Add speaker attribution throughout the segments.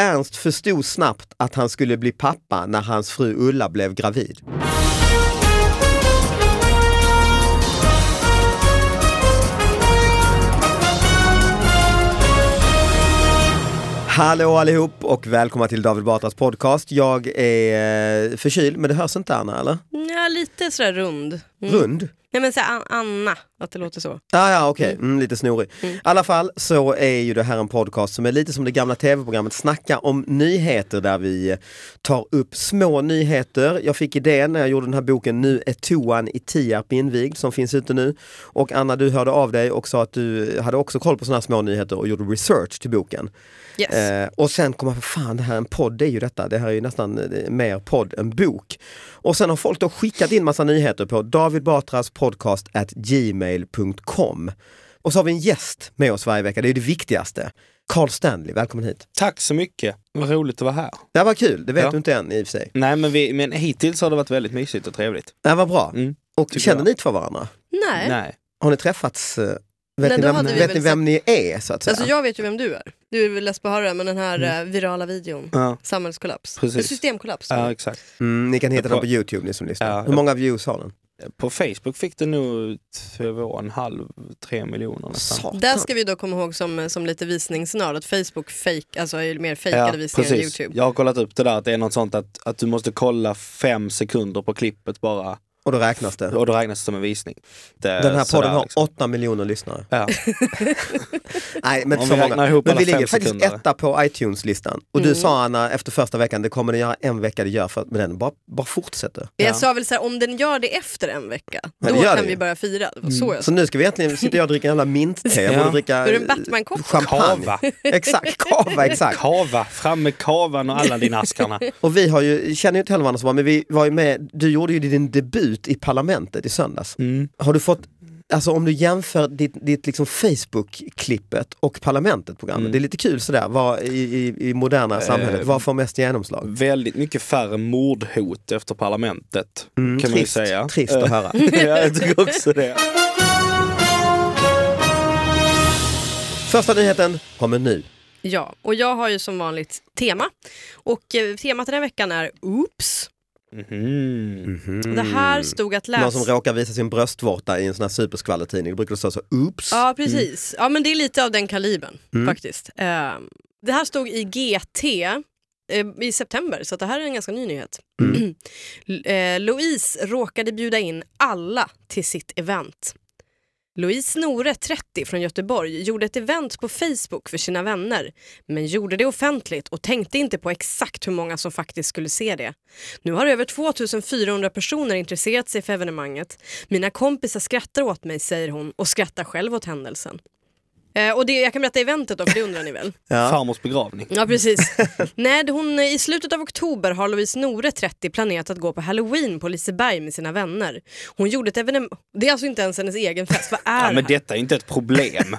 Speaker 1: Ernst förstod snabbt att han skulle bli pappa när hans fru Ulla blev gravid. Hallå allihop och välkomna till David Batras podcast. Jag är eh, förkyld, men det hörs inte Anna eller?
Speaker 2: Ja, lite sådär rund. Mm.
Speaker 1: Rund?
Speaker 2: Nej men såhär An- Anna, att det låter så.
Speaker 1: Ah, ja, okej. Mm, lite snorig. I alla fall så är ju det här en podcast som är lite som det gamla tv-programmet Snacka om nyheter där vi tar upp små nyheter. Jag fick idén när jag gjorde den här boken Nu är toan i Tierp invigd som finns ute nu. Och Anna, du hörde av dig och sa att du hade också koll på sådana här små nyheter och gjorde research till boken.
Speaker 2: Yes.
Speaker 1: Eh, och sen kom jag på, fan det här är en podd, det är ju detta, det här är ju nästan eh, mer podd än bok. Och sen har folk då skickat in massa nyheter på davidbatraspodcast@gmail.com. Och så har vi en gäst med oss varje vecka, det är ju det viktigaste. Carl Stanley, välkommen hit.
Speaker 3: Tack så mycket. Vad roligt att vara här.
Speaker 1: Det här var kul, det vet
Speaker 3: Ja.
Speaker 1: du inte än i och för sig.
Speaker 3: Nej, men, vi, men hittills har det varit väldigt mysigt och trevligt.
Speaker 1: Det här var bra.
Speaker 3: Mm.
Speaker 1: Och
Speaker 3: tycker
Speaker 1: känner
Speaker 3: jag.
Speaker 1: ni för varandra?
Speaker 2: Nej.
Speaker 3: Nej.
Speaker 1: Har ni träffats? eh, Vet,
Speaker 2: Nej,
Speaker 1: ni,
Speaker 2: då
Speaker 1: vem,
Speaker 2: hade vi
Speaker 1: vet
Speaker 2: väl
Speaker 1: ni vem ni är så Mm. att säga?
Speaker 2: Alltså jag vet ju vem du är. Du är väl less på att höra det, men den här eh, virala videon.
Speaker 3: Ja,
Speaker 2: Samhällskollaps.
Speaker 3: Precis.
Speaker 2: Systemkollaps.
Speaker 3: ja exakt.
Speaker 1: mm, ni kan hitta
Speaker 3: Jag
Speaker 1: den
Speaker 3: tror-
Speaker 1: på Youtube ni som lyssnar.
Speaker 3: Ja,
Speaker 1: Hur
Speaker 3: jag-
Speaker 1: många views har den?
Speaker 3: På Facebook fick det nog två och en halv, tre miljoner nästan.
Speaker 1: Satan.
Speaker 2: Där ska vi då komma ihåg som, eh, som lite visningsnörd att Facebook fake, alltså är ju mer fejkade visningar än Youtube.
Speaker 3: Jag har kollat upp det där att det är något sånt att, att du måste kolla fem sekunder på klippet bara
Speaker 1: Och då räknas det.
Speaker 3: och då räknas det som en visning. Det, är
Speaker 1: Den här
Speaker 3: sådär
Speaker 1: podden har
Speaker 3: liksom.
Speaker 1: 8 miljoner lyssnare.
Speaker 3: Ja.
Speaker 1: Nej, men
Speaker 3: Om
Speaker 1: så
Speaker 3: vi
Speaker 1: många.
Speaker 3: räknar ihop
Speaker 1: men
Speaker 3: alla
Speaker 1: vi
Speaker 3: fem
Speaker 1: ligger faktiskt
Speaker 3: sekunder.
Speaker 1: etta på iTunes-listan. Och du
Speaker 2: Mm.
Speaker 1: sa Anna efter första veckan, det kommer den göra en vecka, det gör för men den bara, bara fortsätter.
Speaker 2: Men jag
Speaker 3: Ja.
Speaker 2: sa väl såhär, om den gör det efter en vecka,
Speaker 1: Men
Speaker 2: då
Speaker 1: det gör
Speaker 2: kan
Speaker 1: det
Speaker 2: vi
Speaker 1: ju. Mm.
Speaker 2: börja fira. Det var så jag
Speaker 1: Så
Speaker 2: sa.
Speaker 1: nu ska vi egentligen, sitter jag och dricker en jävla mintte, jag
Speaker 3: Ja.
Speaker 1: borde dricka
Speaker 2: Är det en
Speaker 1: eh,
Speaker 2: Batman-kopp?
Speaker 1: champagne.
Speaker 3: Kava.
Speaker 1: Exakt, kava, exakt.
Speaker 3: Kava, fram med kavan och alla dina askarna.
Speaker 1: Och vi har ju, känner ju inte heller varandra så bra, men vi var ju med, du gjorde ju din debut i Parlamentet i söndags.
Speaker 3: Mm.
Speaker 1: Har du fått, alltså om du jämför ditt, ditt liksom Facebook-klippet och Parlamentet-programmet,
Speaker 3: Mm.
Speaker 1: det är lite kul sådär, vad i, i, i
Speaker 3: Eh,
Speaker 1: moderna samhället, vad får mest genomslag?
Speaker 3: Väldigt mycket färre mordhot efter parlamentet kan man ju
Speaker 1: Mm, trist,
Speaker 3: säga. Eh.
Speaker 1: trist att höra.
Speaker 3: ja, jag tycker också det.
Speaker 1: Första nyheten kommer nu.
Speaker 2: Ja, och jag har ju som vanligt tema. Och eh, temat den här veckan är Oops. Mm.
Speaker 1: Mm.
Speaker 3: Mhm.
Speaker 2: Det här stod att läsa.
Speaker 1: Någon som råkar visa sin bröstvårta i en sån här superskvallertidning, då brukar det stå så, oops.
Speaker 2: Ja, precis. Ja, men det är lite av den kalibern faktiskt. Eh, det här stod i GT eh, i september, så att det här är en ganska ny nyhet. L- eh, Louise råkade bjuda in alla till sitt event. Louise Nore, 30, från Göteborg, gjorde ett event på Facebook för sina vänner, men gjorde det offentligt och tänkte inte på exakt hur många som faktiskt skulle se det. Nu har över 2400 personer intresserat sig för evenemanget. Mina kompisar skrattar åt mig, säger hon, och skrattar själv åt händelsen. Eh, och det, jag kan berätta eventet då, för det undrar ni väl?
Speaker 3: Farmors begravning.
Speaker 2: Ja precis. Nej, hon, eh, I slutet av oktober har Louise Nore, 30, planerat att gå på halloween på Liseberg med sina vänner. Hon gjorde ett evenemang, det är alltså inte ens hennes egen fest, vad är
Speaker 3: Ja, men
Speaker 2: det
Speaker 3: detta är inte ett problem.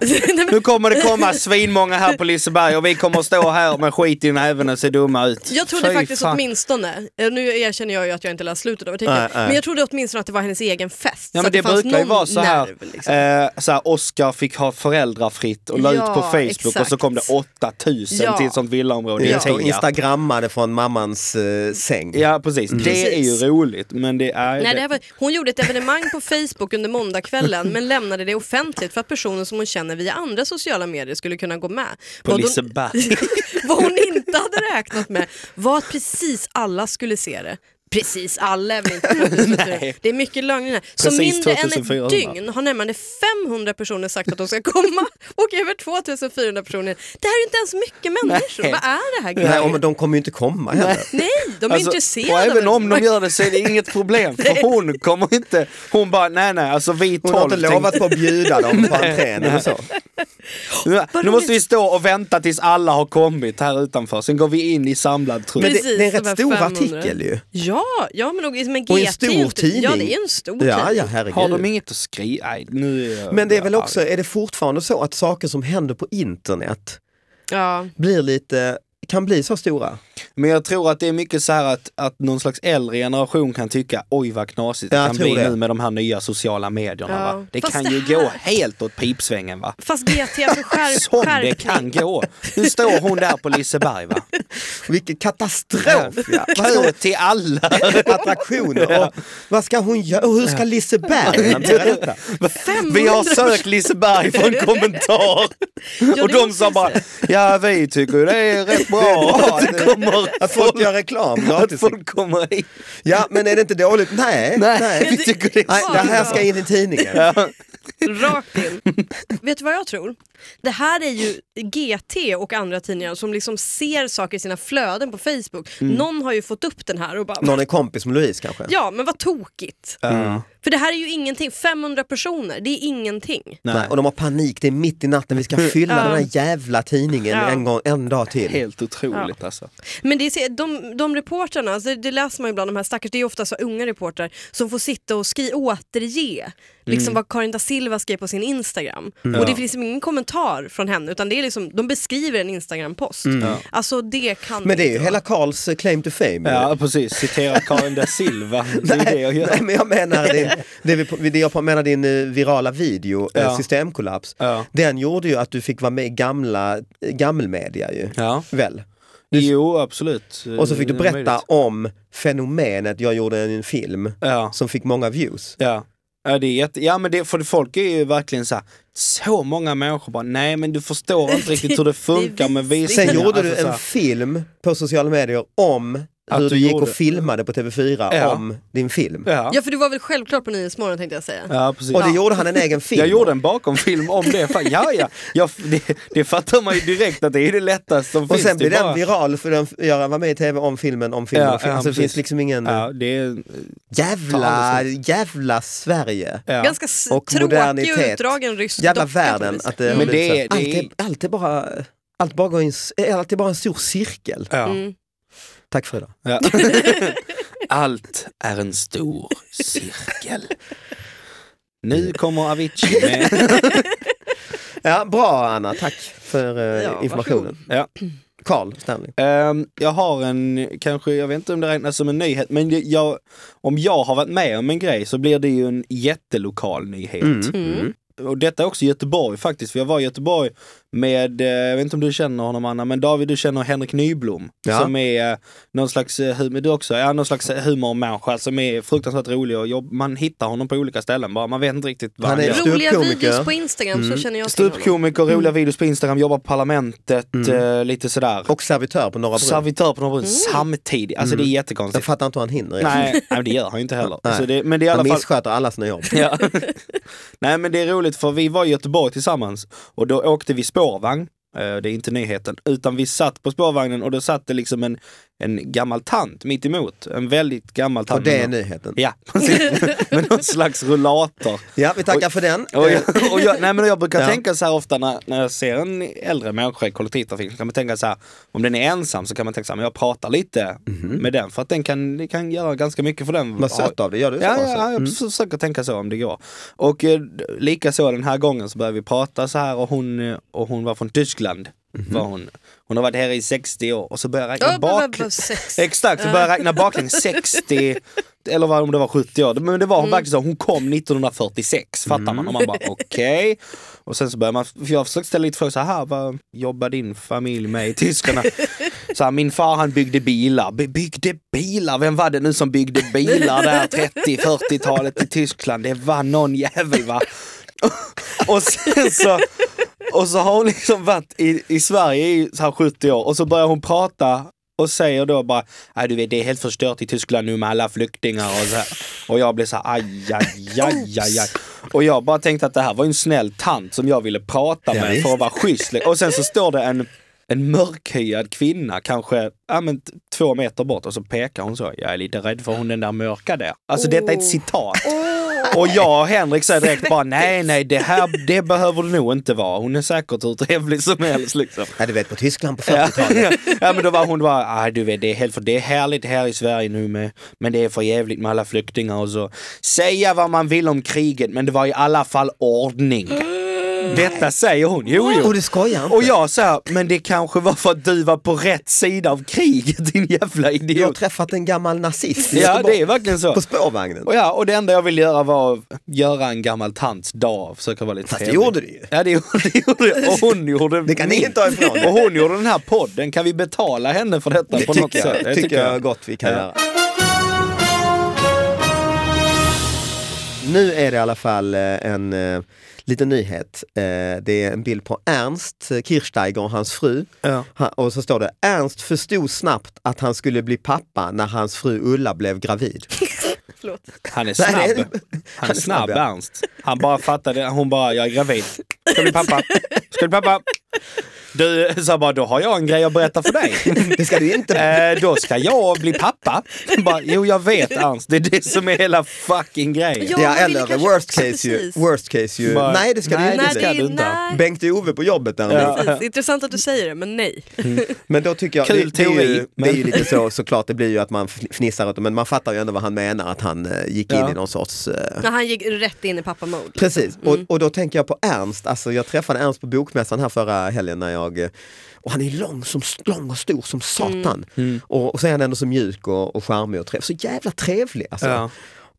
Speaker 3: nu kommer det komma svinmånga här på Liseberg och vi kommer stå här med skit i näven och se dumma ut.
Speaker 2: här? Jag trodde
Speaker 3: Fy
Speaker 2: faktiskt
Speaker 3: fan.
Speaker 2: åtminstone, eh, nu erkänner jag ju att jag inte läst slutet av artikeln,
Speaker 1: Nej, nej.
Speaker 2: men jag trodde åtminstone att det var hennes egen fest. så
Speaker 3: Ja, men
Speaker 2: att
Speaker 3: det
Speaker 2: fanns
Speaker 3: brukar ju
Speaker 2: någon
Speaker 3: vara så här,
Speaker 2: nerv, liksom.
Speaker 3: eh, så här Oscar fick ha föräldrafritt och la
Speaker 2: Ja,
Speaker 3: ut på Facebook och så
Speaker 2: exakt.
Speaker 3: kom det 8000
Speaker 2: Ja.
Speaker 3: till ett sånt villaområde
Speaker 1: Ja.
Speaker 3: i Tierp.
Speaker 1: Instagrammade från mammans eh, säng.
Speaker 3: Ja precis, det är
Speaker 2: Precis.
Speaker 3: ju roligt men det är...
Speaker 2: Nej, det här var, hon gjorde ett evenemang på Facebook under måndagskvällen men lämnade det offentligt för att personer som hon känner via andra sociala medier skulle kunna gå med.
Speaker 3: På
Speaker 2: Vad hon-
Speaker 3: Liseberg.
Speaker 2: Vad hon inte hade räknat med var att precis alla skulle se det. Precis alla är väl inte 2004. Det är mycket lögner här. Så
Speaker 3: Precis
Speaker 2: mindre än ett
Speaker 3: 2400.
Speaker 2: dygn har närmare 500 personer sagt att de ska komma och över 2400 personer. Det här är ju inte ens mycket människor.
Speaker 3: Nej.
Speaker 2: Vad är det här?
Speaker 1: Nej,
Speaker 2: grejen?
Speaker 1: och men de kommer ju inte komma heller.
Speaker 2: Nej, de är
Speaker 3: Alltså,
Speaker 2: intresserade.
Speaker 3: Och även
Speaker 2: av
Speaker 3: om de gör det så är det inget problem för hon kommer inte, hon bara nej nej alltså vi
Speaker 1: Hon har
Speaker 3: tolv
Speaker 1: inte lovat på att bjuda dem på entrén eller så.
Speaker 3: tänkte, nu måste vi stå och vänta tills alla har kommit här utanför, sen går vi in i samlad trupp.
Speaker 1: Men det,
Speaker 2: Precis,
Speaker 1: det är en
Speaker 2: de
Speaker 1: rätt
Speaker 2: här
Speaker 1: stor
Speaker 2: 500.
Speaker 1: artikel ju.
Speaker 2: Ja, ja men, och, men GT
Speaker 1: Och en
Speaker 2: är
Speaker 1: stor
Speaker 2: ju inte,
Speaker 1: tidning.
Speaker 2: Ja, det är en stor
Speaker 1: Ja, ja
Speaker 2: tidning.
Speaker 1: herregud.
Speaker 3: Har de inget att skriva? Nej, nu är jag
Speaker 1: Men det är väl
Speaker 3: jag
Speaker 1: också,
Speaker 3: arg.
Speaker 1: är det fortfarande så att saker som händer på internet
Speaker 2: Ja.
Speaker 1: blir lite, kan bli så stora?
Speaker 3: Men jag tror att det är mycket så här att, att någon slags äldre generation kan tycka oj vad knasigt
Speaker 1: Ja,
Speaker 3: det
Speaker 1: jag
Speaker 3: kan
Speaker 1: tror
Speaker 3: bli
Speaker 1: det.
Speaker 3: nu med de här nya sociala medierna.
Speaker 2: Ja.
Speaker 3: Va? Det
Speaker 2: Fast
Speaker 3: kan
Speaker 2: det
Speaker 3: ju
Speaker 2: här-
Speaker 3: gå helt åt pipsvängen va.
Speaker 2: Fast GT, alltså
Speaker 3: Som
Speaker 2: skärp,
Speaker 3: det
Speaker 2: skärpning.
Speaker 3: kan gå. Nu står hon där på Liseberg va.
Speaker 1: Vilken katastrof! ja. Vad ska
Speaker 3: Kö till alla.
Speaker 1: hon- Attraktioner och vad ska hon göra? Och hur ska Liseberg hantera detta?
Speaker 3: Vi har sökt Liseberg för en kommentar.
Speaker 2: Ja,
Speaker 3: Och
Speaker 2: det
Speaker 3: de
Speaker 2: måste
Speaker 3: sa
Speaker 2: jag
Speaker 3: bara,
Speaker 2: säga.
Speaker 3: ja vi tycker ju det är rätt bra att det kommer
Speaker 1: Att folk gör reklam
Speaker 3: att
Speaker 1: gratis.
Speaker 3: folk kommer hit.
Speaker 1: Ja, men är det inte dåligt? Nej, nej.
Speaker 3: Nej,
Speaker 1: nej.
Speaker 3: vi tycker det är
Speaker 1: det här ska in i tidningen. Ja.
Speaker 2: Rakt in. Vet du vad jag tror? Det här är ju GT och andra tidningar som liksom ser saker i sina flöden på Facebook.
Speaker 1: Mm.
Speaker 2: Någon har ju fått upp den här och bara
Speaker 1: Någon är kompis med Louise kanske?
Speaker 2: Ja, men vad tokigt. För det här är ju ingenting. 500 personer, det är ingenting.
Speaker 1: Nej. Och de har panik, det är mitt i natten, vi ska fylla den här jävla tidningen
Speaker 2: Ja.
Speaker 1: en, gång, en dag till.
Speaker 3: Mm. Helt otroligt alltså.
Speaker 2: Men det är, de, de reportrarna, alltså det läser man ju ibland, de här stackars, det är ofta så unga reportrar som får sitta och skri, återge liksom
Speaker 1: Mm.
Speaker 2: vad Karin da Silva skrev på sin Instagram. Och det finns liksom ingen kommentar från henne utan det är liksom, de beskriver en Instagram-post. Alltså det kan
Speaker 1: Mm. Men det är ju
Speaker 2: inte
Speaker 1: hela Karls eh, claim to fame.
Speaker 3: Ja precis, citera Karin da Silva. Det är det jag gör.
Speaker 1: Nej men jag menar din, det, vi, det jag menar din eh, virala video, eh,
Speaker 3: Ja.
Speaker 1: systemkollaps,
Speaker 3: Ja.
Speaker 1: den gjorde ju att du fick vara med i gamla, eh, gammelmedia ju.
Speaker 3: Ja.
Speaker 1: Väl?
Speaker 3: Jo absolut.
Speaker 1: Och så fick du
Speaker 3: Det är
Speaker 1: berätta
Speaker 3: möjligt.
Speaker 1: om fenomenet, jag gjorde en film
Speaker 3: Ja.
Speaker 1: som fick många views.
Speaker 3: Ja. Ja, det är jätte... ja men det, för folk är ju verkligen så här, så många människor bara, nej men du förstår inte riktigt hur det funkar med
Speaker 2: visligt.
Speaker 3: visningar.
Speaker 1: Sen gjorde
Speaker 3: Alltså,
Speaker 1: du
Speaker 3: så
Speaker 1: en
Speaker 3: här,
Speaker 1: film på sociala medier om
Speaker 3: Att
Speaker 1: hur du
Speaker 3: du
Speaker 1: gick
Speaker 3: gjorde-
Speaker 1: och filmade på TV4
Speaker 3: Ja.
Speaker 1: om din film.
Speaker 3: Ja.
Speaker 2: Ja för du var väl självklart på Nyhetsmorgon tänkte jag säga.
Speaker 3: ja, precis.
Speaker 1: Och det gjorde han en egen film.
Speaker 3: Jag gjorde en bakomfilm om det. Fan, ja, ja. Jag, det, det fattar man ju direkt att det är det lättaste som
Speaker 1: och
Speaker 3: finns.
Speaker 1: sen
Speaker 3: det är
Speaker 1: blev den
Speaker 3: bara-
Speaker 1: viral för den Göran var med i TV om filmen om filmen.
Speaker 3: Ja,
Speaker 1: om filmen.
Speaker 3: ja,
Speaker 1: alltså det
Speaker 3: precis.
Speaker 1: finns liksom ingen...
Speaker 3: Ja, det är,
Speaker 1: Jävla, jävla Sverige!
Speaker 3: ja.
Speaker 2: Ganska s-
Speaker 1: Och
Speaker 2: tråkig och
Speaker 1: modernitet.
Speaker 2: utdragen rysk
Speaker 1: Jävla
Speaker 2: docka på
Speaker 1: världen!
Speaker 2: något vis.
Speaker 1: Att det, har
Speaker 3: Men
Speaker 1: blivit
Speaker 3: det
Speaker 1: så här.
Speaker 3: är- det är-
Speaker 1: allt, är, allt är bara... Allt bara, går i en, s- eh, allt är bara en stor cirkel.
Speaker 3: Ja.
Speaker 2: Mm.
Speaker 1: Tack för idag.
Speaker 3: Ja. Allt är en stor cirkel. Nu kommer Avicii med...
Speaker 1: Ja, bra Anna, tack för eh,
Speaker 2: Ja,
Speaker 1: informationen.
Speaker 3: Ja.
Speaker 1: Carl Stanley.
Speaker 3: Ehm, jag har en, kanske, jag vet inte om det räknas som en nyhet, men det- jag, om jag har varit med om en grej så blir det ju en jättelokal nyhet.
Speaker 2: Mm.
Speaker 3: Och detta är också Göteborg faktiskt, för jag var i Göteborg med, eh, jag vet inte om du känner honom Anna, men David du känner Henrik Nyblom.
Speaker 1: Ja.
Speaker 3: Som är eh, någon slags, eh, hum- du också, ja, någon slags humormänniska som är fruktansvärt rolig och jobb, man hittar honom på olika ställen bara, man vet inte riktigt vad
Speaker 1: Han
Speaker 3: han,
Speaker 1: är
Speaker 3: gör.
Speaker 1: Ståuppkomiker.
Speaker 2: Roliga videos på Instagram
Speaker 1: Mm.
Speaker 2: så känner jag till honom.
Speaker 3: Ståuppkomiker, roliga videos på Instagram, jobbar på Parlamentet, eh, lite sådär.
Speaker 1: Och servitör på Norra Brunn.
Speaker 3: Servitör på Norra Brunn samtidigt, alltså det är
Speaker 1: Jag
Speaker 3: jättekonstigt.
Speaker 1: fattar inte hur han hinner. egentligen.
Speaker 3: Nej, nej, men det gör han ju inte heller.
Speaker 1: Nej.
Speaker 3: Så det, men det är i
Speaker 1: han
Speaker 3: alla fall...
Speaker 1: missköter alla sina jobb.
Speaker 3: Ja. Nej men det är roligt för vi var i Göteborg tillsammans och då åkte vi spårvagn, eh, det är inte nyheten, utan vi satt på spårvagnen och då satt det liksom en, en gammal tant mitt emot. En väldigt gammal tant.
Speaker 1: Och det är
Speaker 3: med någon-
Speaker 1: nyheten.
Speaker 3: Mm. Ja, precis. Med någon slags rullator.
Speaker 1: Ja, vi tackar för den.
Speaker 3: Och jag, och jag, nej men jag brukar
Speaker 1: Ja.
Speaker 3: tänka så här ofta när, när jag ser en äldre människa i kollektivtrafiken, så kan man tänka så här, om den är ensam så kan man tänka så här, men jag pratar lite med den för att den kan, det kan göra ganska mycket för den.
Speaker 1: Mhm. Vad sött av dig, gör du så?
Speaker 3: Ja,
Speaker 1: alltså?
Speaker 3: ja, jag försöker tänka så om det går. Och eh, lika så den här gången så började vi prata så här och hon, eh, och hon var från Tyskland.
Speaker 1: Mhm.
Speaker 3: Var hon. hon har varit här i 60 år och så började jag räkna
Speaker 2: Ja, bara- bara
Speaker 3: baklänges.
Speaker 2: sex.
Speaker 3: Exakt, så började jag räkna baklänges 60 eller vad om det var 70 år. Men det var hon verkligen så, hon kom 1946 fattar man. Och man bara okej. Och sen så börjar man, för jag försökte ställa lite frågor så här, vad jobbar din familj med i Tyskland? Så här, min far han byggde bilar, By- byggde bilar, vem var det nu som byggde bilar där 30-40-talet i Tyskland? Det var någon jävel va? Och sen så, och så har hon liksom varit i, i Sverige i så här 70 år och så börjar hon prata och säger då bara, "Nej, du vet det är helt förstört i Tyskland nu med alla flyktingar och så här. Och jag blir så här, aj, aj, aj, aj, aj. Och jag bara tänkte att det här var ju en snäll tant som jag ville prata
Speaker 1: Ja,
Speaker 3: med
Speaker 1: visst.
Speaker 3: för att vara schysst. Och sen så står det en, en mörkhyad kvinna, kanske ja, men, t- två meter bort och så pekar hon så, jag är lite rädd för hon den där mörka där. Alltså detta är ett citat. Och jag och Henrik säger direkt bara nej, nej, det här det behöver du nog inte vara. Hon är säkert hur trevlig som helst liksom.
Speaker 1: Ja, du vet på Tyskland på
Speaker 3: Ja,
Speaker 1: 40-talet.
Speaker 3: ja men då var hon bara, ah, du vet det är, helt, för det är härligt här i Sverige nu med, men det är för jävligt med alla flyktingar och så. Säga vad man vill om kriget men det var i alla fall ordning. Detta säger hon, jo jo.
Speaker 1: Och du skojar inte?
Speaker 3: Och jag säger, men det kanske var för att du var på rätt sida av kriget din jävla
Speaker 1: Jag har
Speaker 3: idiot.
Speaker 1: träffat en gammal nazist i
Speaker 3: Ja
Speaker 1: Göteborg.
Speaker 3: det är verkligen så.
Speaker 1: På spårvagnen.
Speaker 3: Och, ja, och det enda jag ville göra var att göra en gammal tants dag och försöka vara lite
Speaker 1: Fast det
Speaker 3: trevlig.
Speaker 1: gjorde du ju.
Speaker 3: Ja det gjorde, det gjorde jag. Och hon gjorde
Speaker 1: Det kan ingen ta ifrån dig.
Speaker 3: Och hon gjorde den här podden, kan vi betala henne för detta
Speaker 1: Det
Speaker 3: på något
Speaker 1: tycker jag,
Speaker 3: sätt?
Speaker 1: det tycker jag gott vi kan
Speaker 3: Ja.
Speaker 1: göra. Nu är det i alla fall eh, en eh, liten nyhet. Eh, det är en bild på Ernst Kirchsteiger och hans fru.
Speaker 3: Ja.
Speaker 1: Ha- Och så står det Ernst förstod snabbt att han skulle bli pappa när hans fru Ulla blev gravid.
Speaker 2: Förlåt.
Speaker 3: Han är
Speaker 1: Nej, det är-
Speaker 3: snabb. Han är snabb
Speaker 1: ja.
Speaker 3: Ernst. Han bara fattade, hon bara, jag är gravid. Ska bli pappa. Ska bli pappa. Du sa bara, då har jag en grej att berätta för dig.
Speaker 1: Det ska du inte.
Speaker 3: Eh, då ska jag bli pappa. Bara, jo jag vet Ernst, det är det som är hela fucking grejen.
Speaker 2: Ja,
Speaker 1: Ja,
Speaker 2: man vill
Speaker 1: eller
Speaker 2: kanske
Speaker 1: worst
Speaker 2: också-
Speaker 1: case, ju,
Speaker 2: precis.
Speaker 1: worst case ju.
Speaker 3: Bara,
Speaker 1: Nej det ska
Speaker 3: nej,
Speaker 1: du inte.
Speaker 3: det ska
Speaker 1: bli.
Speaker 2: Nej,
Speaker 3: du inte.
Speaker 2: nej.
Speaker 1: Bengt-Ove på jobbet däremot.
Speaker 2: Precis. Intressant att du säger det, men nej.
Speaker 1: Men då tycker jag,
Speaker 3: Kul
Speaker 1: det, det, är ju,
Speaker 3: teori,
Speaker 1: det
Speaker 3: men-
Speaker 1: är ju lite så såklart, det blir ju att man fn- fnissar åt det, men man fattar ju ändå vad han menar att han eh, gick in
Speaker 3: Ja.
Speaker 1: i någon sorts... Eh, Mm.
Speaker 2: När han gick rätt in i pappa-mode.
Speaker 1: precis, och, och då tänker jag på Ernst, alltså jag träffade Ernst på bokmässan här förra helgen när jag eh, och han är lång, som, lång och stor som satan. Och, och så är han ändå så mjuk och, och charmig och trevlig. Så jävla trevlig alltså.
Speaker 3: Ja.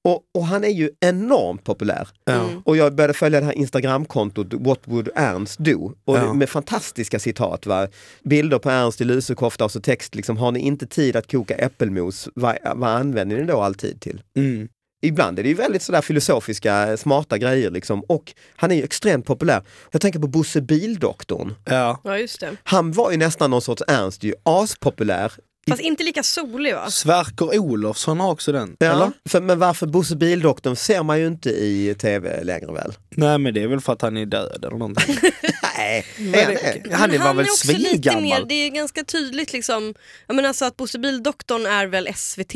Speaker 1: Och, och han är ju enormt populär.
Speaker 3: Mm.
Speaker 1: Och jag började följa det här Instagramkontot What would Ernst do? Och
Speaker 3: Ja.
Speaker 1: Med fantastiska citat. Va? Bilder på Ernst i lusekofta och så text liksom, har ni inte tid att koka äppelmos, vad, vad använder ni då all tid till?
Speaker 3: Mm.
Speaker 1: Ibland är det ju väldigt sådär filosofiska, smarta grejer liksom. Och han är ju extremt populär. Jag tänker på Bosse Bildoktorn.
Speaker 3: Ja.
Speaker 2: Ja, just det.
Speaker 1: Han var ju nästan någon sorts Ernst, ju aspopulär.
Speaker 2: Fast inte lika solig va?
Speaker 3: Sverker Olofsson har också den.
Speaker 1: Ja,
Speaker 3: Eller?
Speaker 1: för, men varför Bosse Bildoktorn ser man ju inte i tv längre väl?
Speaker 3: Nej men det är väl för att han är död eller någonting.
Speaker 1: Nej, är
Speaker 3: Men
Speaker 1: han
Speaker 3: det-
Speaker 1: det?
Speaker 3: han
Speaker 2: Men
Speaker 3: är var väl
Speaker 2: också lite mer,
Speaker 3: svingammal.
Speaker 2: det är ganska tydligt liksom, jag menar så att Bosse Bildoktorn är väl SVT?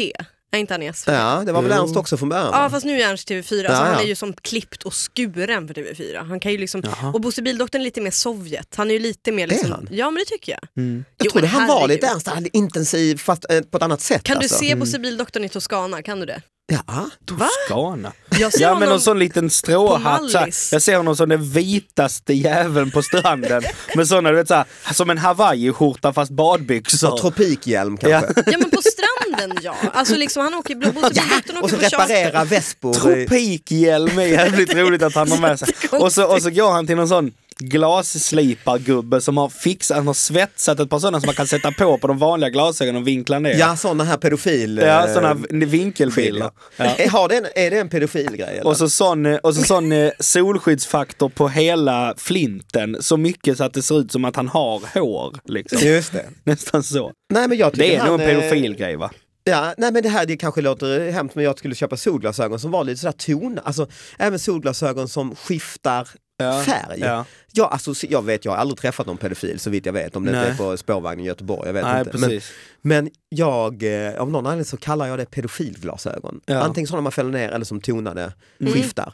Speaker 2: Är inte han i SVT?
Speaker 1: Ja, det var väl
Speaker 3: Jo.
Speaker 1: Ernst också från början?
Speaker 2: Ja
Speaker 1: va?
Speaker 2: fast nu är Ernst TV4, alltså,
Speaker 1: Ja,
Speaker 2: han
Speaker 1: ja.
Speaker 2: är ju som klippt och skuren för TV4. Han kan ju liksom,
Speaker 3: Jaha.
Speaker 2: och Bosse Bildoktorn är lite mer Sovjet, han är ju lite mer
Speaker 1: Det är
Speaker 2: liksom,
Speaker 1: han? Mm.
Speaker 2: ja men det tycker jag.
Speaker 1: Jag
Speaker 2: Jo,
Speaker 1: trodde
Speaker 2: men
Speaker 1: han var
Speaker 2: herregud.
Speaker 1: lite Ernst, han är intensiv fast eh, på ett annat sätt.
Speaker 2: Kan
Speaker 1: alltså.
Speaker 2: du se Bosse Bildoktorn i Toscana, kan du det?
Speaker 1: Ja.
Speaker 3: Skana.
Speaker 2: Jag ser
Speaker 3: Ja men
Speaker 2: honom,
Speaker 3: någon sån liten
Speaker 2: på
Speaker 3: stråhatt. såhär.
Speaker 2: Mallis.
Speaker 3: Jag ser honom som den vitaste jäveln på stranden. med såna, du vet såhär, som en hawaiiskjorta fast badbyxor.
Speaker 1: Och tropikhjälm kanske.
Speaker 2: ja men på stranden ja. Alltså liksom han åker, Bosse Bildoktorn
Speaker 1: Och
Speaker 2: åker
Speaker 1: så
Speaker 2: på charter.
Speaker 1: reparera Vesper.
Speaker 3: Tropikhjälm är jävligt roligt att han har med sig. Och så, och så går han till någon sån glasslipargubbe som har fixat, han har svetsat ett par sådana som man kan sätta på på de vanliga glasögonen och vinkla ner.
Speaker 1: Ja, sådana här pedofil...
Speaker 3: Ja,
Speaker 1: eh,
Speaker 3: sådana vinkelbilder.
Speaker 1: skillnad.
Speaker 3: Ja.
Speaker 1: Är, har det en, är det en pedofilgrej? eller?
Speaker 3: Och så sån, eh, och så sån eh, solskyddsfaktor på hela flinten, så mycket så att det ser ut som att han har hår. Liksom.
Speaker 1: Just det.
Speaker 3: Nästan så.
Speaker 1: Nej, men jag tycker
Speaker 3: Det är
Speaker 1: han,
Speaker 3: nog en
Speaker 1: eh,
Speaker 3: pedofilgrej va?
Speaker 1: Ja, nej men det här det kanske låter hemskt men jag skulle köpa solglasögon som var lite sådär tona, alltså även solglasögon som skiftar
Speaker 3: Ja,
Speaker 1: färg.
Speaker 3: ja.
Speaker 1: Jag, alltså, jag vet, jag har aldrig träffat någon pedofil så vitt jag vet, om det
Speaker 3: Nej.
Speaker 1: inte är på spårvagnen i Göteborg. Jag vet
Speaker 3: Nej,
Speaker 1: inte. Men,
Speaker 3: precis.
Speaker 1: men jag, eh, av någon anledning så kallar jag det pedofilglasögon.
Speaker 3: Ja.
Speaker 1: Antingen sådana man fäller ner eller som tonade
Speaker 2: Mm.
Speaker 1: skiftar.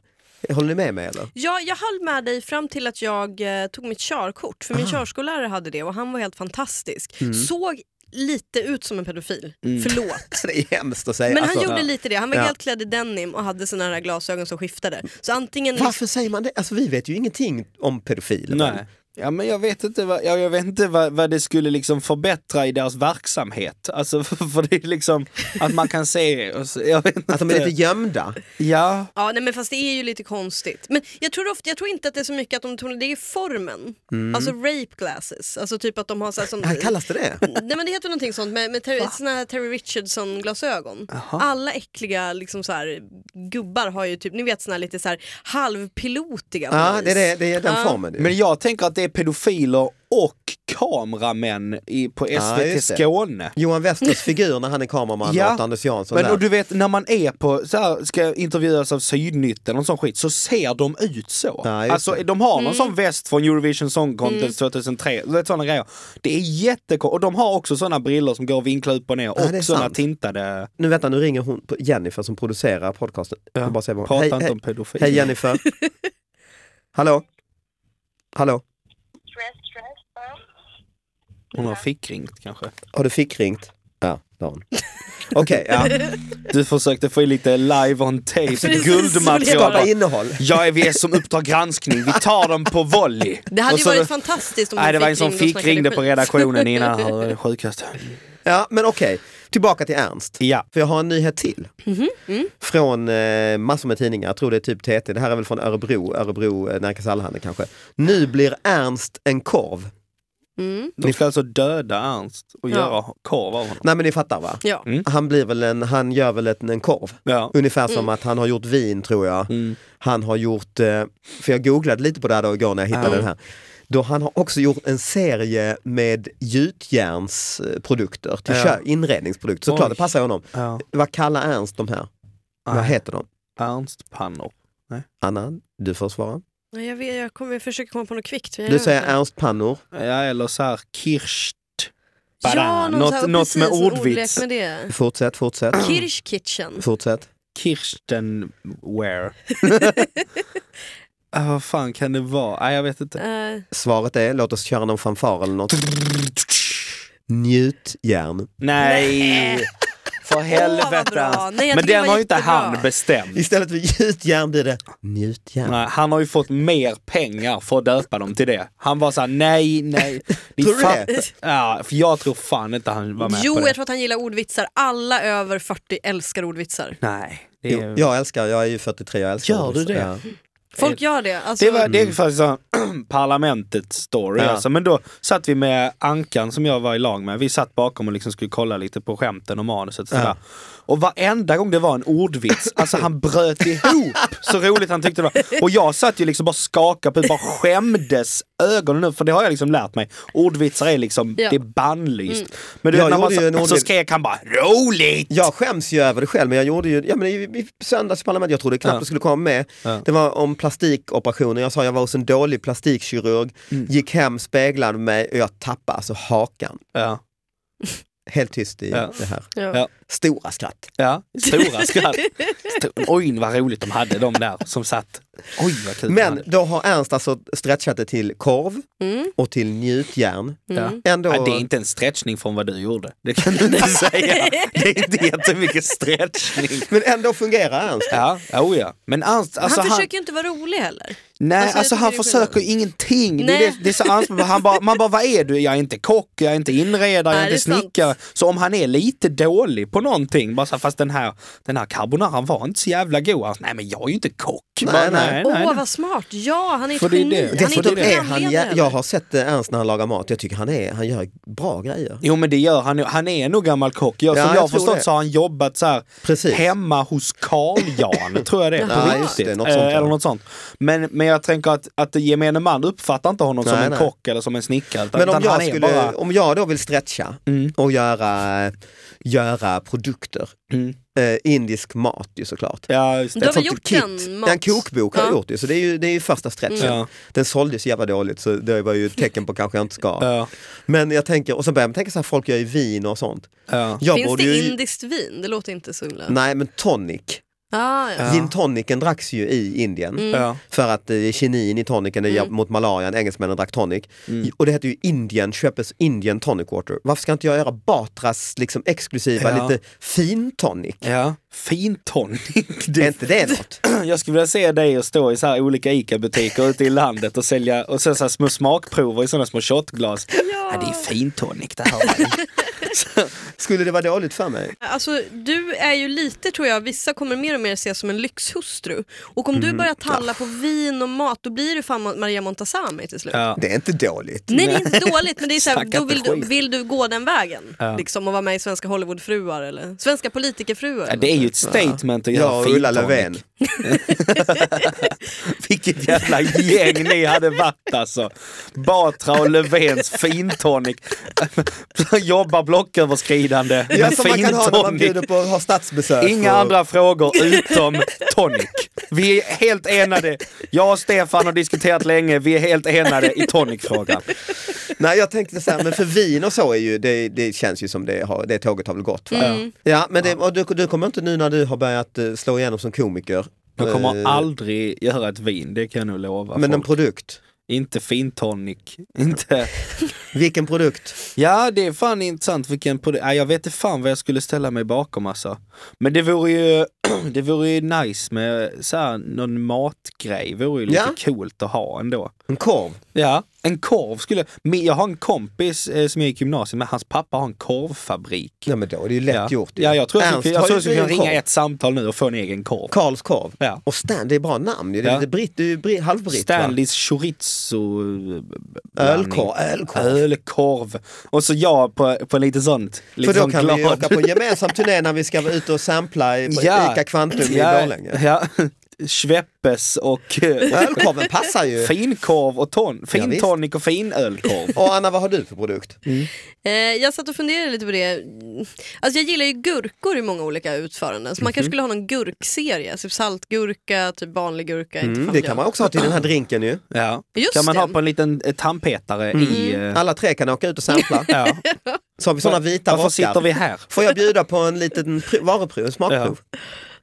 Speaker 1: Håller ni med mig eller?
Speaker 2: Ja, jag höll med dig fram till att jag eh, tog mitt körkort, för min körskollärare hade det och han var helt fantastisk.
Speaker 1: Mm.
Speaker 2: Såg lite ut som en pedofil, förlåt.
Speaker 3: Alltså,
Speaker 1: Så det är hemskt att säga.
Speaker 2: Men
Speaker 1: Mm. alltså,
Speaker 2: han gjorde lite det, han var
Speaker 1: Ja.
Speaker 2: helt klädd i denim och hade såna här glasögon som skiftade. Så antingen...
Speaker 1: Varför säger man det? Alltså vi vet ju ingenting om pedofiler.
Speaker 3: Nej. Ja men jag vet inte, vad, ja, jag vet inte vad, vad det skulle liksom förbättra i deras verksamhet. Alltså för, för det är liksom att man kan se, och så, jag vet inte.
Speaker 1: Att de är lite gömda.
Speaker 3: Ja,
Speaker 2: Ja, nej, men fast det är ju lite konstigt. Men jag tror, ofta, jag tror inte att det är så mycket att de tonar, det är formen. Alltså rape glasses, alltså typ att de har så här som...
Speaker 1: Här Mm. kallas det det?
Speaker 2: Nej men det heter någonting sånt med, med Terry, såna här Terry Richardson glasögon. Alla äckliga liksom så här, gubbar har ju typ, ni vet såna här lite så här halvpilotiga på
Speaker 1: Ja,
Speaker 2: något
Speaker 1: det är,
Speaker 2: vis.
Speaker 1: det, det är den
Speaker 2: Ja.
Speaker 1: formen. ju.
Speaker 3: men jag tänker att det är pedofiler och kameramän i, på SVT
Speaker 1: just det.
Speaker 3: Skåne.
Speaker 1: Johan Westers figur när han är kameraman
Speaker 3: Ja.
Speaker 1: åt Anders Jansson.
Speaker 3: Men
Speaker 1: där.
Speaker 3: och du vet när man är på, så här, ska intervjuas av Sydnytt eller någon sån skit, så ser de ut så.
Speaker 1: Ja, just
Speaker 3: alltså
Speaker 1: det.
Speaker 3: de har någon
Speaker 2: Mm.
Speaker 3: sån väst från Eurovision Song Contest 2003, du vet, såna grejer. Det är jättekonstigt, och de har också såna briller som går att vinkla upp och ner
Speaker 1: Ja, det är
Speaker 3: och såna
Speaker 1: sant.
Speaker 3: tintade.
Speaker 1: Nu vänta, nu ringer hon, på- Jennifer som producerar podcasten. Jag bara säger vad hon-
Speaker 3: Prata
Speaker 1: hej,
Speaker 3: inte
Speaker 1: hej,
Speaker 3: om pedofil.
Speaker 1: hej Jennifer. Hallå? Hallå?
Speaker 3: Hon har fickringt kanske.
Speaker 1: Har du fickringt? Ja, det har hon. Okej, ja.
Speaker 3: Du försökte få in lite live on tape,
Speaker 2: Precis,
Speaker 1: Skapa
Speaker 3: guldmaterial.
Speaker 1: innehåll.
Speaker 3: Ja, vi är som Uppdrag granskning, vi tar dem på volley.
Speaker 2: Det hade
Speaker 3: Och
Speaker 2: ju
Speaker 3: så-
Speaker 2: varit fantastiskt om
Speaker 3: Nej, det
Speaker 2: de
Speaker 3: var en som
Speaker 2: ringde och
Speaker 3: fick ringde på
Speaker 2: snackade skit.
Speaker 3: redaktionen innan, det var det sjukaste.
Speaker 1: Ja, men okej. Tillbaka till Ernst.
Speaker 3: Ja.
Speaker 1: För jag har en nyhet till. mm. Från eh, massor med tidningar, jag tror det är typ TT, det här är väl från Örebro, Örebro eh, Närkes Allehanda kanske. Nu blir Ernst en korv.
Speaker 2: Mm.
Speaker 3: De ska alltså döda Ernst och
Speaker 2: Ja.
Speaker 3: göra korv av honom.
Speaker 1: Nej men ni fattar va?
Speaker 2: Ja.
Speaker 3: Mm.
Speaker 1: Han, blir väl en, han gör väl en, en korv.
Speaker 3: Ja.
Speaker 1: Ungefär som att han har gjort vin tror jag.
Speaker 3: Mm.
Speaker 1: Han har gjort, eh, för jag googlade lite på det här då igår när jag hittade
Speaker 3: Mm.
Speaker 1: den här. Då han har också gjort en serie med gjutjärnsprodukter, till
Speaker 3: Ja.
Speaker 1: kö- inredningsprodukter. Såklart,
Speaker 3: Oj.
Speaker 1: det passar honom.
Speaker 3: Ja.
Speaker 1: Vad kallar Ernst de här? Vad heter de?
Speaker 3: Ernst Pannor.
Speaker 1: Anna, du får svara.
Speaker 2: Nej, Jag, vet, jag, kommer, jag försöker komma på något kvickt. men jag
Speaker 1: Du
Speaker 2: gör
Speaker 1: säger
Speaker 2: inte.
Speaker 1: Ernst Pannor.
Speaker 3: Ja, eller så här Kirst.
Speaker 2: Ja,
Speaker 3: Bara,
Speaker 2: någon
Speaker 3: något-
Speaker 2: så här,
Speaker 3: något
Speaker 2: precis,
Speaker 3: med
Speaker 2: en
Speaker 3: ordvits.
Speaker 2: ordlek Med det.
Speaker 1: Fortsätt, fortsätt,
Speaker 2: Kirsch Kitchen.
Speaker 1: fortsätt.
Speaker 3: Kirstenware. ah, vad fan kan det vara? Nej, jag vet inte.
Speaker 2: Eh,
Speaker 1: Svaret är, låt oss köra någon fanfar eller något. Njutjärn.
Speaker 3: Nej! För helvete.
Speaker 2: bra.
Speaker 3: Ernst.
Speaker 2: Nej, jag
Speaker 3: Men
Speaker 2: tycker
Speaker 3: den
Speaker 2: det var
Speaker 3: har ju inte
Speaker 2: jättebra.
Speaker 3: han bestämt.
Speaker 1: Istället för gjutjärn blir det njutjärn.
Speaker 3: Nej, han har ju fått mer pengar för att döpa dem till det. Han var såhär, nej, nej. Ni
Speaker 1: Tror du det?
Speaker 3: fattar- Ja, för jag tror fan inte han var med
Speaker 2: jo,
Speaker 3: på det.
Speaker 2: jag tror att han gillar ordvitsar. Alla över 40 älskar ordvitsar.
Speaker 3: Nej. Det är...
Speaker 1: Jo, jag älskar, jag är ju 43, jag älskar
Speaker 3: Gör du det?
Speaker 1: Ja.
Speaker 2: Folk gör det. Alltså,
Speaker 3: Eh, Det, var, det är faktiskt så parlamentets story.
Speaker 1: Mm. Ja.
Speaker 3: Alltså. Men då satt vi med Ankan som jag var i lag med. Vi satt bakom och liksom skulle kolla lite på skämten och manuset. Sådär.
Speaker 1: Ja.
Speaker 3: Och varenda gång det var en ordvits, alltså han bröt ihop så roligt han tyckte det var. Och jag satt ju liksom bara skakade på bara skämdes ögonen nu för det har jag liksom lärt mig. Ordvitsar är liksom,
Speaker 2: Ja.
Speaker 3: det är bannlyst. Men du
Speaker 1: Jag
Speaker 3: vet, när man
Speaker 1: gjorde ju en
Speaker 3: så, så
Speaker 1: ordvits-
Speaker 3: skrek han bara roligt!
Speaker 1: Jag skäms ju över det själv, men jag gjorde ju, ja men i, i söndags i parlamentet, jag trodde knappt
Speaker 3: Ja.
Speaker 1: det skulle komma med.
Speaker 3: Ja.
Speaker 1: Det var om plastikoperationer, jag sa jag var hos en dålig plastikkirurg, gick hem, speglade mig och jag tappade alltså hakan.
Speaker 3: Ja.
Speaker 1: Helt tyst i
Speaker 3: Ja.
Speaker 1: det här.
Speaker 2: ja.
Speaker 3: Ja.
Speaker 1: Stora skratt.
Speaker 3: Ja, stora skratt. Sto- Oj vad roligt de hade de där som satt. Oj vad kul de hade.
Speaker 1: Men då har Ernst alltså stretchat det till korv
Speaker 2: Mm.
Speaker 1: och till njutjärn.
Speaker 3: Ja.
Speaker 1: Ändå,
Speaker 3: Nej, det är inte en stretchning från vad du gjorde. Det kan du inte säga. Det är inte jättemycket stretchning.
Speaker 1: Men ändå fungerar Ernst.
Speaker 3: Ja, oh ja. Men Ernst, alltså
Speaker 2: han
Speaker 3: han,
Speaker 2: försöker ju inte vara rolig heller.
Speaker 3: nej,
Speaker 2: alltså,
Speaker 3: alltså,
Speaker 2: jag
Speaker 3: han
Speaker 2: tycker det är
Speaker 3: försöker ingenting. Det är,
Speaker 2: Nej.
Speaker 3: det, det är så Ernst, han bara, man bara, vad är du? Jag är inte kock, jag är inte inredare, jag
Speaker 2: Nej,
Speaker 3: är
Speaker 2: det är
Speaker 3: inte snickare. Så om han är lite dålig på någonting, bara så här, fast den här, den här carbonaran var inte så jävla god. Ernst, nej men jag är ju inte kock.
Speaker 1: Nej,
Speaker 3: bara,
Speaker 1: nej.
Speaker 2: Åh, vad smart. Ja, han är
Speaker 3: För
Speaker 2: ett
Speaker 3: det är
Speaker 2: geni.
Speaker 3: det.
Speaker 2: Han är typ inte
Speaker 1: Dessutom är han,
Speaker 2: programledare
Speaker 1: jä-
Speaker 2: heller.
Speaker 1: jag har sett eh, Ernst när han lagar mat, jag tycker han, är, han gör bra grejer.
Speaker 3: Jo men det gör han ju. Han är nog gammal kock. Jag,
Speaker 1: Ja,
Speaker 3: som
Speaker 1: jag
Speaker 3: jag har
Speaker 1: tror
Speaker 3: förstått
Speaker 1: det.
Speaker 3: så har han jobbat så här
Speaker 1: Precis.
Speaker 3: hemma hos Karl-Jan, tror jag det är.
Speaker 2: Ja,
Speaker 3: På
Speaker 1: just det,
Speaker 3: riktigt.
Speaker 1: något sånt,
Speaker 3: Eh,
Speaker 1: ja.
Speaker 3: eller något sånt. Men, men jag tänker att, att gemene man uppfattar inte honom som
Speaker 1: Nej,
Speaker 3: en
Speaker 1: nej.
Speaker 3: kock eller som en snickare. Utan,
Speaker 1: Men om
Speaker 3: utan
Speaker 1: jag,
Speaker 3: han är
Speaker 1: skulle,
Speaker 3: bara...
Speaker 1: om jag då vill stretcha och göra, göra produkter,
Speaker 3: Mm.
Speaker 1: eh, indisk mat ju såklart.
Speaker 3: Ja, just
Speaker 2: Då
Speaker 3: det.
Speaker 2: har vi
Speaker 1: sånt
Speaker 2: gjort
Speaker 1: kit.
Speaker 2: en mat.
Speaker 1: Ja, en kokbok har jag
Speaker 2: Ja. Mm.
Speaker 1: gjort ju, så det är ju, det är ju första stretchen.
Speaker 3: Ja.
Speaker 1: Den såldes så jävla dåligt så det var ju ett tecken på kanske jag inte ska.
Speaker 3: Ja,
Speaker 1: Men jag tänker, och så börjar man tänka så här, folk gör ju vin och sånt.
Speaker 3: ja.
Speaker 1: Jag
Speaker 2: Finns
Speaker 1: borde
Speaker 2: det
Speaker 1: ju,
Speaker 2: indiskt vin? Det låter inte så himla...
Speaker 1: Nej men tonic,
Speaker 2: Ah, ja.
Speaker 3: Ja.
Speaker 1: gin tonicen dracks ju i Indien.
Speaker 2: Mm.
Speaker 3: Ja.
Speaker 1: För att eh, kinin i tonicen är ja- mot malarian, engelsmännen drack tonic. Och det heter ju Indien, köpes Indian tonic water. Varför ska inte jag göra Batras liksom exklusiva,
Speaker 3: Ja.
Speaker 1: lite fin tonic?
Speaker 3: Ja, fin tonic.
Speaker 1: Är
Speaker 3: Du,
Speaker 1: inte det något?
Speaker 3: jag skulle vilja se dig och stå i så här olika ICA-butiker ute i landet och sälja och sen så här små smakprover i sådana små shotglas. Ja. det är fin tonic det här.
Speaker 1: Skulle det vara dåligt för mig?
Speaker 2: Alltså, du är ju lite, tror jag, vissa kommer mer och mer se som en lyxhustru. Och om du börjar talla på vin och mat, då blir du fan Maria Montazami till slut.
Speaker 3: Ja.
Speaker 1: Det är inte dåligt.
Speaker 2: Nej, det är inte dåligt, men det är så här,
Speaker 3: Snacka
Speaker 2: då vill
Speaker 3: inte
Speaker 2: du,
Speaker 3: skit.
Speaker 2: vill du gå den vägen.
Speaker 3: Ja.
Speaker 2: Liksom, och vara med i Svenska Hollywoodfruar eller Svenska politikerfruar.
Speaker 3: Ja,
Speaker 2: eller
Speaker 3: det är
Speaker 2: något
Speaker 3: ju ett statement att göra
Speaker 1: Jag och Ulla
Speaker 3: fin tonic.
Speaker 1: Löfven.
Speaker 3: Vilket jävla gäng ni hade varit alltså. Batra och Löfvens fintonic. Jobbar blocköverskridande
Speaker 1: Ja,
Speaker 3: med
Speaker 1: som man kan ha när man
Speaker 3: fintonic.
Speaker 1: bjuder på Alltså. att ha statsbesök.
Speaker 3: Inga
Speaker 1: och-
Speaker 3: andra frågor utom tonic. Vi är helt enade. Jag och Stefan har diskuterat länge, vi är helt enade i tonicfrågan.
Speaker 1: Nej jag tänkte så här, men för vin och så är ju, det, det känns ju som det, har, det tåget har väl gått. Va? Ja men det, och du, du kommer inte nu när du har börjat eh, slå igenom som komiker.
Speaker 3: Jag
Speaker 1: eh,
Speaker 3: kommer aldrig göra ett vin, det kan jag nog lova
Speaker 1: Men en
Speaker 3: folk.
Speaker 1: produkt.
Speaker 3: Inte fintonic. Inte...
Speaker 1: Vilken produkt?
Speaker 3: Ja, det är fan intressant vilken produ- Nej, Jag vet inte fan vad jag skulle ställa mig bakom alltså. Men det vore ju, det vore ju nice med så här, någon matgrej. vore ju lite
Speaker 1: Ja.
Speaker 3: coolt att ha ändå.
Speaker 1: En korv?
Speaker 3: Ja, en korv skulle... men Jag har en kompis eh, som jag gick i gymnasiet med, hans pappa har en korvfabrik.
Speaker 1: Ja men då är det ju lätt
Speaker 3: ja.
Speaker 1: gjort. ju.
Speaker 3: Ja, jag tror jag
Speaker 1: Ernst
Speaker 3: skulle, jag
Speaker 1: har
Speaker 3: tror
Speaker 1: ju
Speaker 3: jag skulle
Speaker 1: en
Speaker 3: kunna ringa
Speaker 1: korv.
Speaker 3: ett samtal nu och få en egen korv.
Speaker 1: Karls korv.
Speaker 3: Ja.
Speaker 1: Och Stan, det är bra namn ju. Det är
Speaker 3: Ja.
Speaker 1: lite britt, du är bri- halvbritt
Speaker 3: Stanleys chorizo...
Speaker 1: va? Ölkorv, ölkorv.
Speaker 3: Ölkorv. Och så jag på, på lite sånt. Lite
Speaker 1: För då
Speaker 3: sån
Speaker 1: kan
Speaker 3: liksom glad.
Speaker 1: vi åka på en gemensam turné när vi ska vara ute och sampla i- på
Speaker 3: Ja.
Speaker 1: ICA Kvantum i
Speaker 3: ja,
Speaker 1: Borlänge.
Speaker 3: ja. Schweppes och eh,
Speaker 1: Ölkorven passar ju.
Speaker 3: finkorv och ton,
Speaker 1: Ja, visst.
Speaker 3: fintonic och finölkorv.
Speaker 1: Och Anna, vad har du för produkt?
Speaker 2: Eh, jag satt och funderade lite på det. Alltså jag gillar ju gurkor i många olika utföranden. Så man
Speaker 3: Mhm.
Speaker 2: kanske skulle ha någon gurkserie. Typ saltgurka, typ vanlig gurka. inte
Speaker 1: Mm,
Speaker 2: fan
Speaker 1: det
Speaker 2: vet jag.
Speaker 1: kan man också ha till den här drinken ju.
Speaker 3: Ja.
Speaker 2: Just
Speaker 3: Kan man
Speaker 2: det.
Speaker 3: ha på en liten eh, tandpetare i... eh,
Speaker 1: Alla tre kan åka ut och sampla.
Speaker 3: Ja.
Speaker 1: Så har vi sådana vita
Speaker 3: Varför
Speaker 1: rockar.
Speaker 3: sitter vi här?
Speaker 1: Får jag bjuda på en liten pr- varuprov, en smakprov?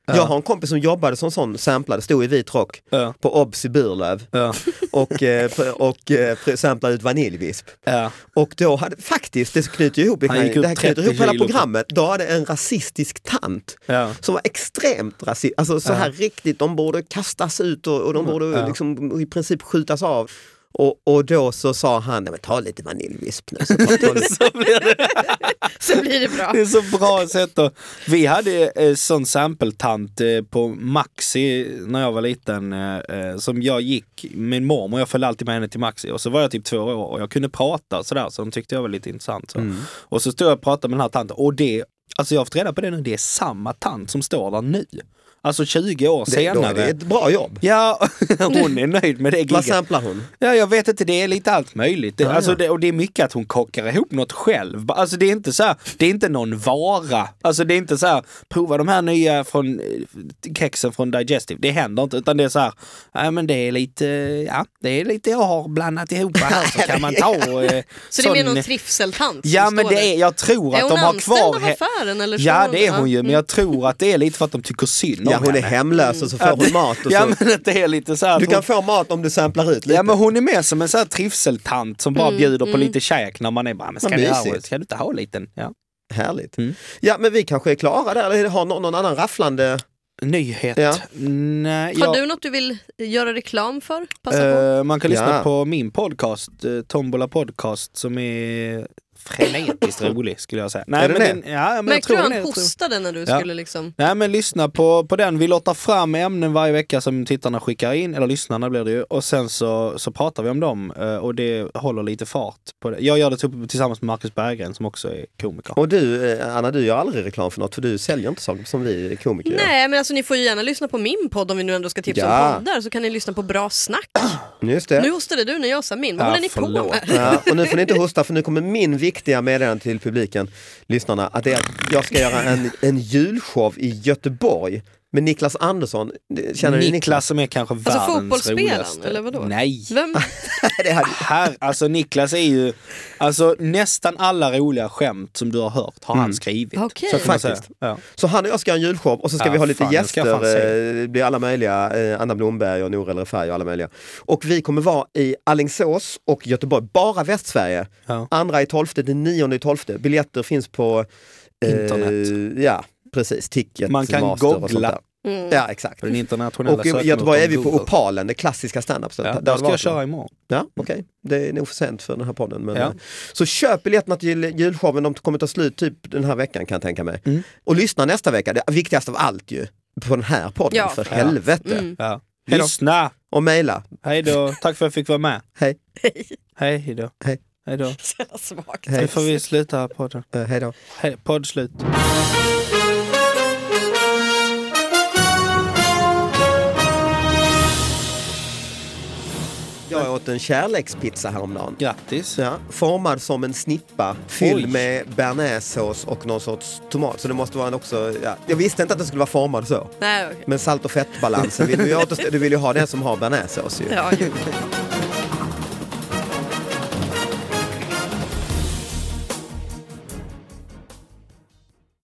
Speaker 1: Jag har en kompis som jobbade som sån samplade, stod i vit rock
Speaker 3: Ja.
Speaker 1: på Obs i Burlöv
Speaker 3: Ja.
Speaker 1: och, eh, pr- och eh, pr- samplade ut vaniljvisp.
Speaker 3: Ja.
Speaker 1: Och då hade, faktiskt, det knyter ju ihop, det,
Speaker 3: Han
Speaker 1: kan,
Speaker 3: gick upp
Speaker 1: det här knyter
Speaker 3: 30
Speaker 1: ihop hela
Speaker 3: kilo.
Speaker 1: programmet, då hade en rasistisk tant
Speaker 3: Ja.
Speaker 1: som var extremt rasistisk, alltså så här riktigt, de borde kastas ut och, och de
Speaker 3: Mm.
Speaker 1: borde liksom, i princip skjutas av. Och, och då så sa han, "Nej, men ta lite vaniljvisp nu. Så bara ta lite.
Speaker 3: Så blir det.
Speaker 2: Så blir det bra.
Speaker 3: Det är så bra sätt att... Vi hade eh, sån sampeltant eh, på Maxi när jag var liten eh, eh, som jag gick, min mormor, jag följde alltid med henne till Maxi och så var jag typ två år och jag kunde prata sådär så de tyckte jag var lite intressant. Så.
Speaker 1: Mm.
Speaker 3: Och så stod jag och pratade med den här tanten och det, alltså jag har fått reda på det nu, det är samma tant som står där nu. Alltså 20 år
Speaker 1: Det, då
Speaker 3: senare.
Speaker 1: är det ett bra jobb.
Speaker 3: Ja, hon är nöjd med det
Speaker 1: Vad
Speaker 3: gigget.
Speaker 1: samplar hon?
Speaker 3: Ja, jag vet inte, det är lite allt möjligt. Det,
Speaker 1: Ja,
Speaker 3: alltså,
Speaker 1: ja.
Speaker 3: Det, och det är mycket att hon kockar ihop något själv. Ba- Alltså det är inte så här, det är inte någon vara. Alltså det är inte så här, prova de här nya från, eh, kexen från Digestive. Det händer inte, utan det är så här, ja men det är lite, ja, det är lite jag har blandat ihop här så kan man ta eh,
Speaker 2: Så det är mer
Speaker 3: sån-
Speaker 2: någon trivseltant som
Speaker 3: Ja men
Speaker 2: står
Speaker 3: det är,
Speaker 2: där.
Speaker 3: jag tror
Speaker 2: Är
Speaker 3: att
Speaker 2: hon
Speaker 3: de har
Speaker 2: anställd
Speaker 3: kvar
Speaker 2: av
Speaker 3: he-
Speaker 2: affären? Eller
Speaker 3: Ja
Speaker 2: står
Speaker 3: det är hon ju, men jag tror att det är lite för att de tycker synd om
Speaker 1: Ja, hon är
Speaker 3: henne.
Speaker 1: hemlös och så får hon mat. Och
Speaker 3: Ja
Speaker 1: så.
Speaker 3: men att det är lite så här
Speaker 1: Du
Speaker 3: att hon-
Speaker 1: kan få mat om du samplar ut lite.
Speaker 3: Ja men hon är mer som en sån här trivseltant som
Speaker 2: Mm,
Speaker 3: bara bjuder på lite käk när man är bara, men ska,
Speaker 1: Vad
Speaker 3: du, ha,
Speaker 1: mysigt.
Speaker 3: ska du inte ha en liten? Ja.
Speaker 1: Härligt.
Speaker 3: Mm.
Speaker 1: Ja men vi kanske är klara där, eller har någon, någon annan rafflande?
Speaker 3: Nyhet?
Speaker 1: Ja.
Speaker 3: Nej,
Speaker 2: Har
Speaker 3: jag-
Speaker 2: du något du vill göra reklam för? Passa på.
Speaker 3: eh, man kan lyssna
Speaker 1: Ja.
Speaker 3: på min podcast, eh, Tombola podcast, som är frenetiskt rolig skulle jag säga. Nej,
Speaker 1: Är den
Speaker 3: men den, ja, men jag
Speaker 2: Märkte
Speaker 3: tror
Speaker 2: du
Speaker 3: den
Speaker 2: han
Speaker 3: är, jag tror-
Speaker 2: hostade när du
Speaker 3: Ja.
Speaker 2: skulle liksom...
Speaker 3: Nej men lyssna på, på den, vi lottar fram ämnen varje vecka som tittarna skickar in, eller lyssnarna blir det ju, och sen så, så pratar vi om dem eh, och det håller lite fart. På det. Jag gör det typ, tillsammans med Marcus Berggren som också är komiker.
Speaker 1: Och du eh, Anna, du gör aldrig reklam för något för du säljer inte saker som vi komiker gör.
Speaker 2: Nej men alltså ni får ju gärna lyssna på min podd om vi nu ändå ska tipsa
Speaker 1: Ja.
Speaker 2: om poddar så kan ni lyssna på bra snack.
Speaker 1: Just det.
Speaker 2: Nu hostade du när jag sa min, vad
Speaker 3: Ja,
Speaker 2: håller ni på
Speaker 3: förlåt.
Speaker 2: med?
Speaker 1: Ja, och nu får ni inte hosta för nu kommer min viktiga meddelande till publiken, lyssnarna, att det är, att jag ska göra en, en julshow i Göteborg med Niklas Andersson. Känner ni
Speaker 3: Niklas,
Speaker 1: Niklas?
Speaker 3: som är kanske världens
Speaker 2: Alltså, fotbollsspelaren,
Speaker 3: roligaste.
Speaker 2: eller vadå?
Speaker 3: Nej.
Speaker 2: Vem?
Speaker 1: Det hade,
Speaker 3: Här, alltså Niklas är ju, alltså nästan alla roliga skämt som du har hört har han skrivit.
Speaker 2: Okej.
Speaker 3: Så kan man säga.
Speaker 1: Faktiskt.
Speaker 3: Ja.
Speaker 1: Så han och jag ska göra en julshow och så ska
Speaker 3: Ja,
Speaker 1: vi ha lite
Speaker 3: fan, den ska jag fan
Speaker 1: gäster,
Speaker 3: se.
Speaker 1: eh, det blir alla möjliga, eh, Anna Blomberg och Nour eller Färg och alla möjliga. Och vi kommer vara i Alingsås och Göteborg, bara Västsverige.
Speaker 3: Ja.
Speaker 1: Andra i tolfte till nionde i tolfte. Biljetter finns på eh,
Speaker 3: Internet.
Speaker 1: Ja, precis. Ticket,
Speaker 3: Man kan
Speaker 1: Master och sånt
Speaker 3: googla.
Speaker 1: där. Ja, exakt.
Speaker 3: På den internationella
Speaker 1: Och i
Speaker 3: sökmotorn
Speaker 1: Göteborg är vi på
Speaker 3: Google.
Speaker 1: Opalen, det klassiska standup.
Speaker 3: Ja, där ska jag köra imorgon.
Speaker 1: Ja, okej. Det är nog för sent för den här podden. Men,
Speaker 3: Mm. Ja.
Speaker 1: eh, Så köp biljetterna till julshowen, de kommer ta slut typ den här veckan kan jag tänka mig.
Speaker 3: Mm.
Speaker 1: Och lyssna nästa vecka, det viktigaste av allt ju, på den här podden,
Speaker 2: Ja.
Speaker 1: för
Speaker 2: Ja.
Speaker 1: helvete.
Speaker 3: Ja.
Speaker 1: Hej då.
Speaker 3: Lyssna!
Speaker 1: Och mejla.
Speaker 3: Hej då, tack för att jag fick vara med.
Speaker 1: Hej,
Speaker 3: Hej hej då.
Speaker 1: Hej.
Speaker 3: Hej då.
Speaker 2: Så jävla svagt.
Speaker 1: hej,
Speaker 3: Nu får vi sluta här podden.
Speaker 1: Eh, hej då.
Speaker 3: Hej, podd slut.
Speaker 1: Jag åt en kärlekspizza häromdagen.
Speaker 3: Grattis.
Speaker 1: Ja, formad som en snippa, fylld
Speaker 3: Oj.
Speaker 1: med bearnaisesås och någon sorts tomat. Så det måste vara en också, ja. Jag visste inte att den skulle vara formad så.
Speaker 2: Nej, okej.
Speaker 1: Men salt och fettbalansen, vill du, ju återst- du vill ju ha den som har bearnaisesås ju.
Speaker 2: Ja, jo.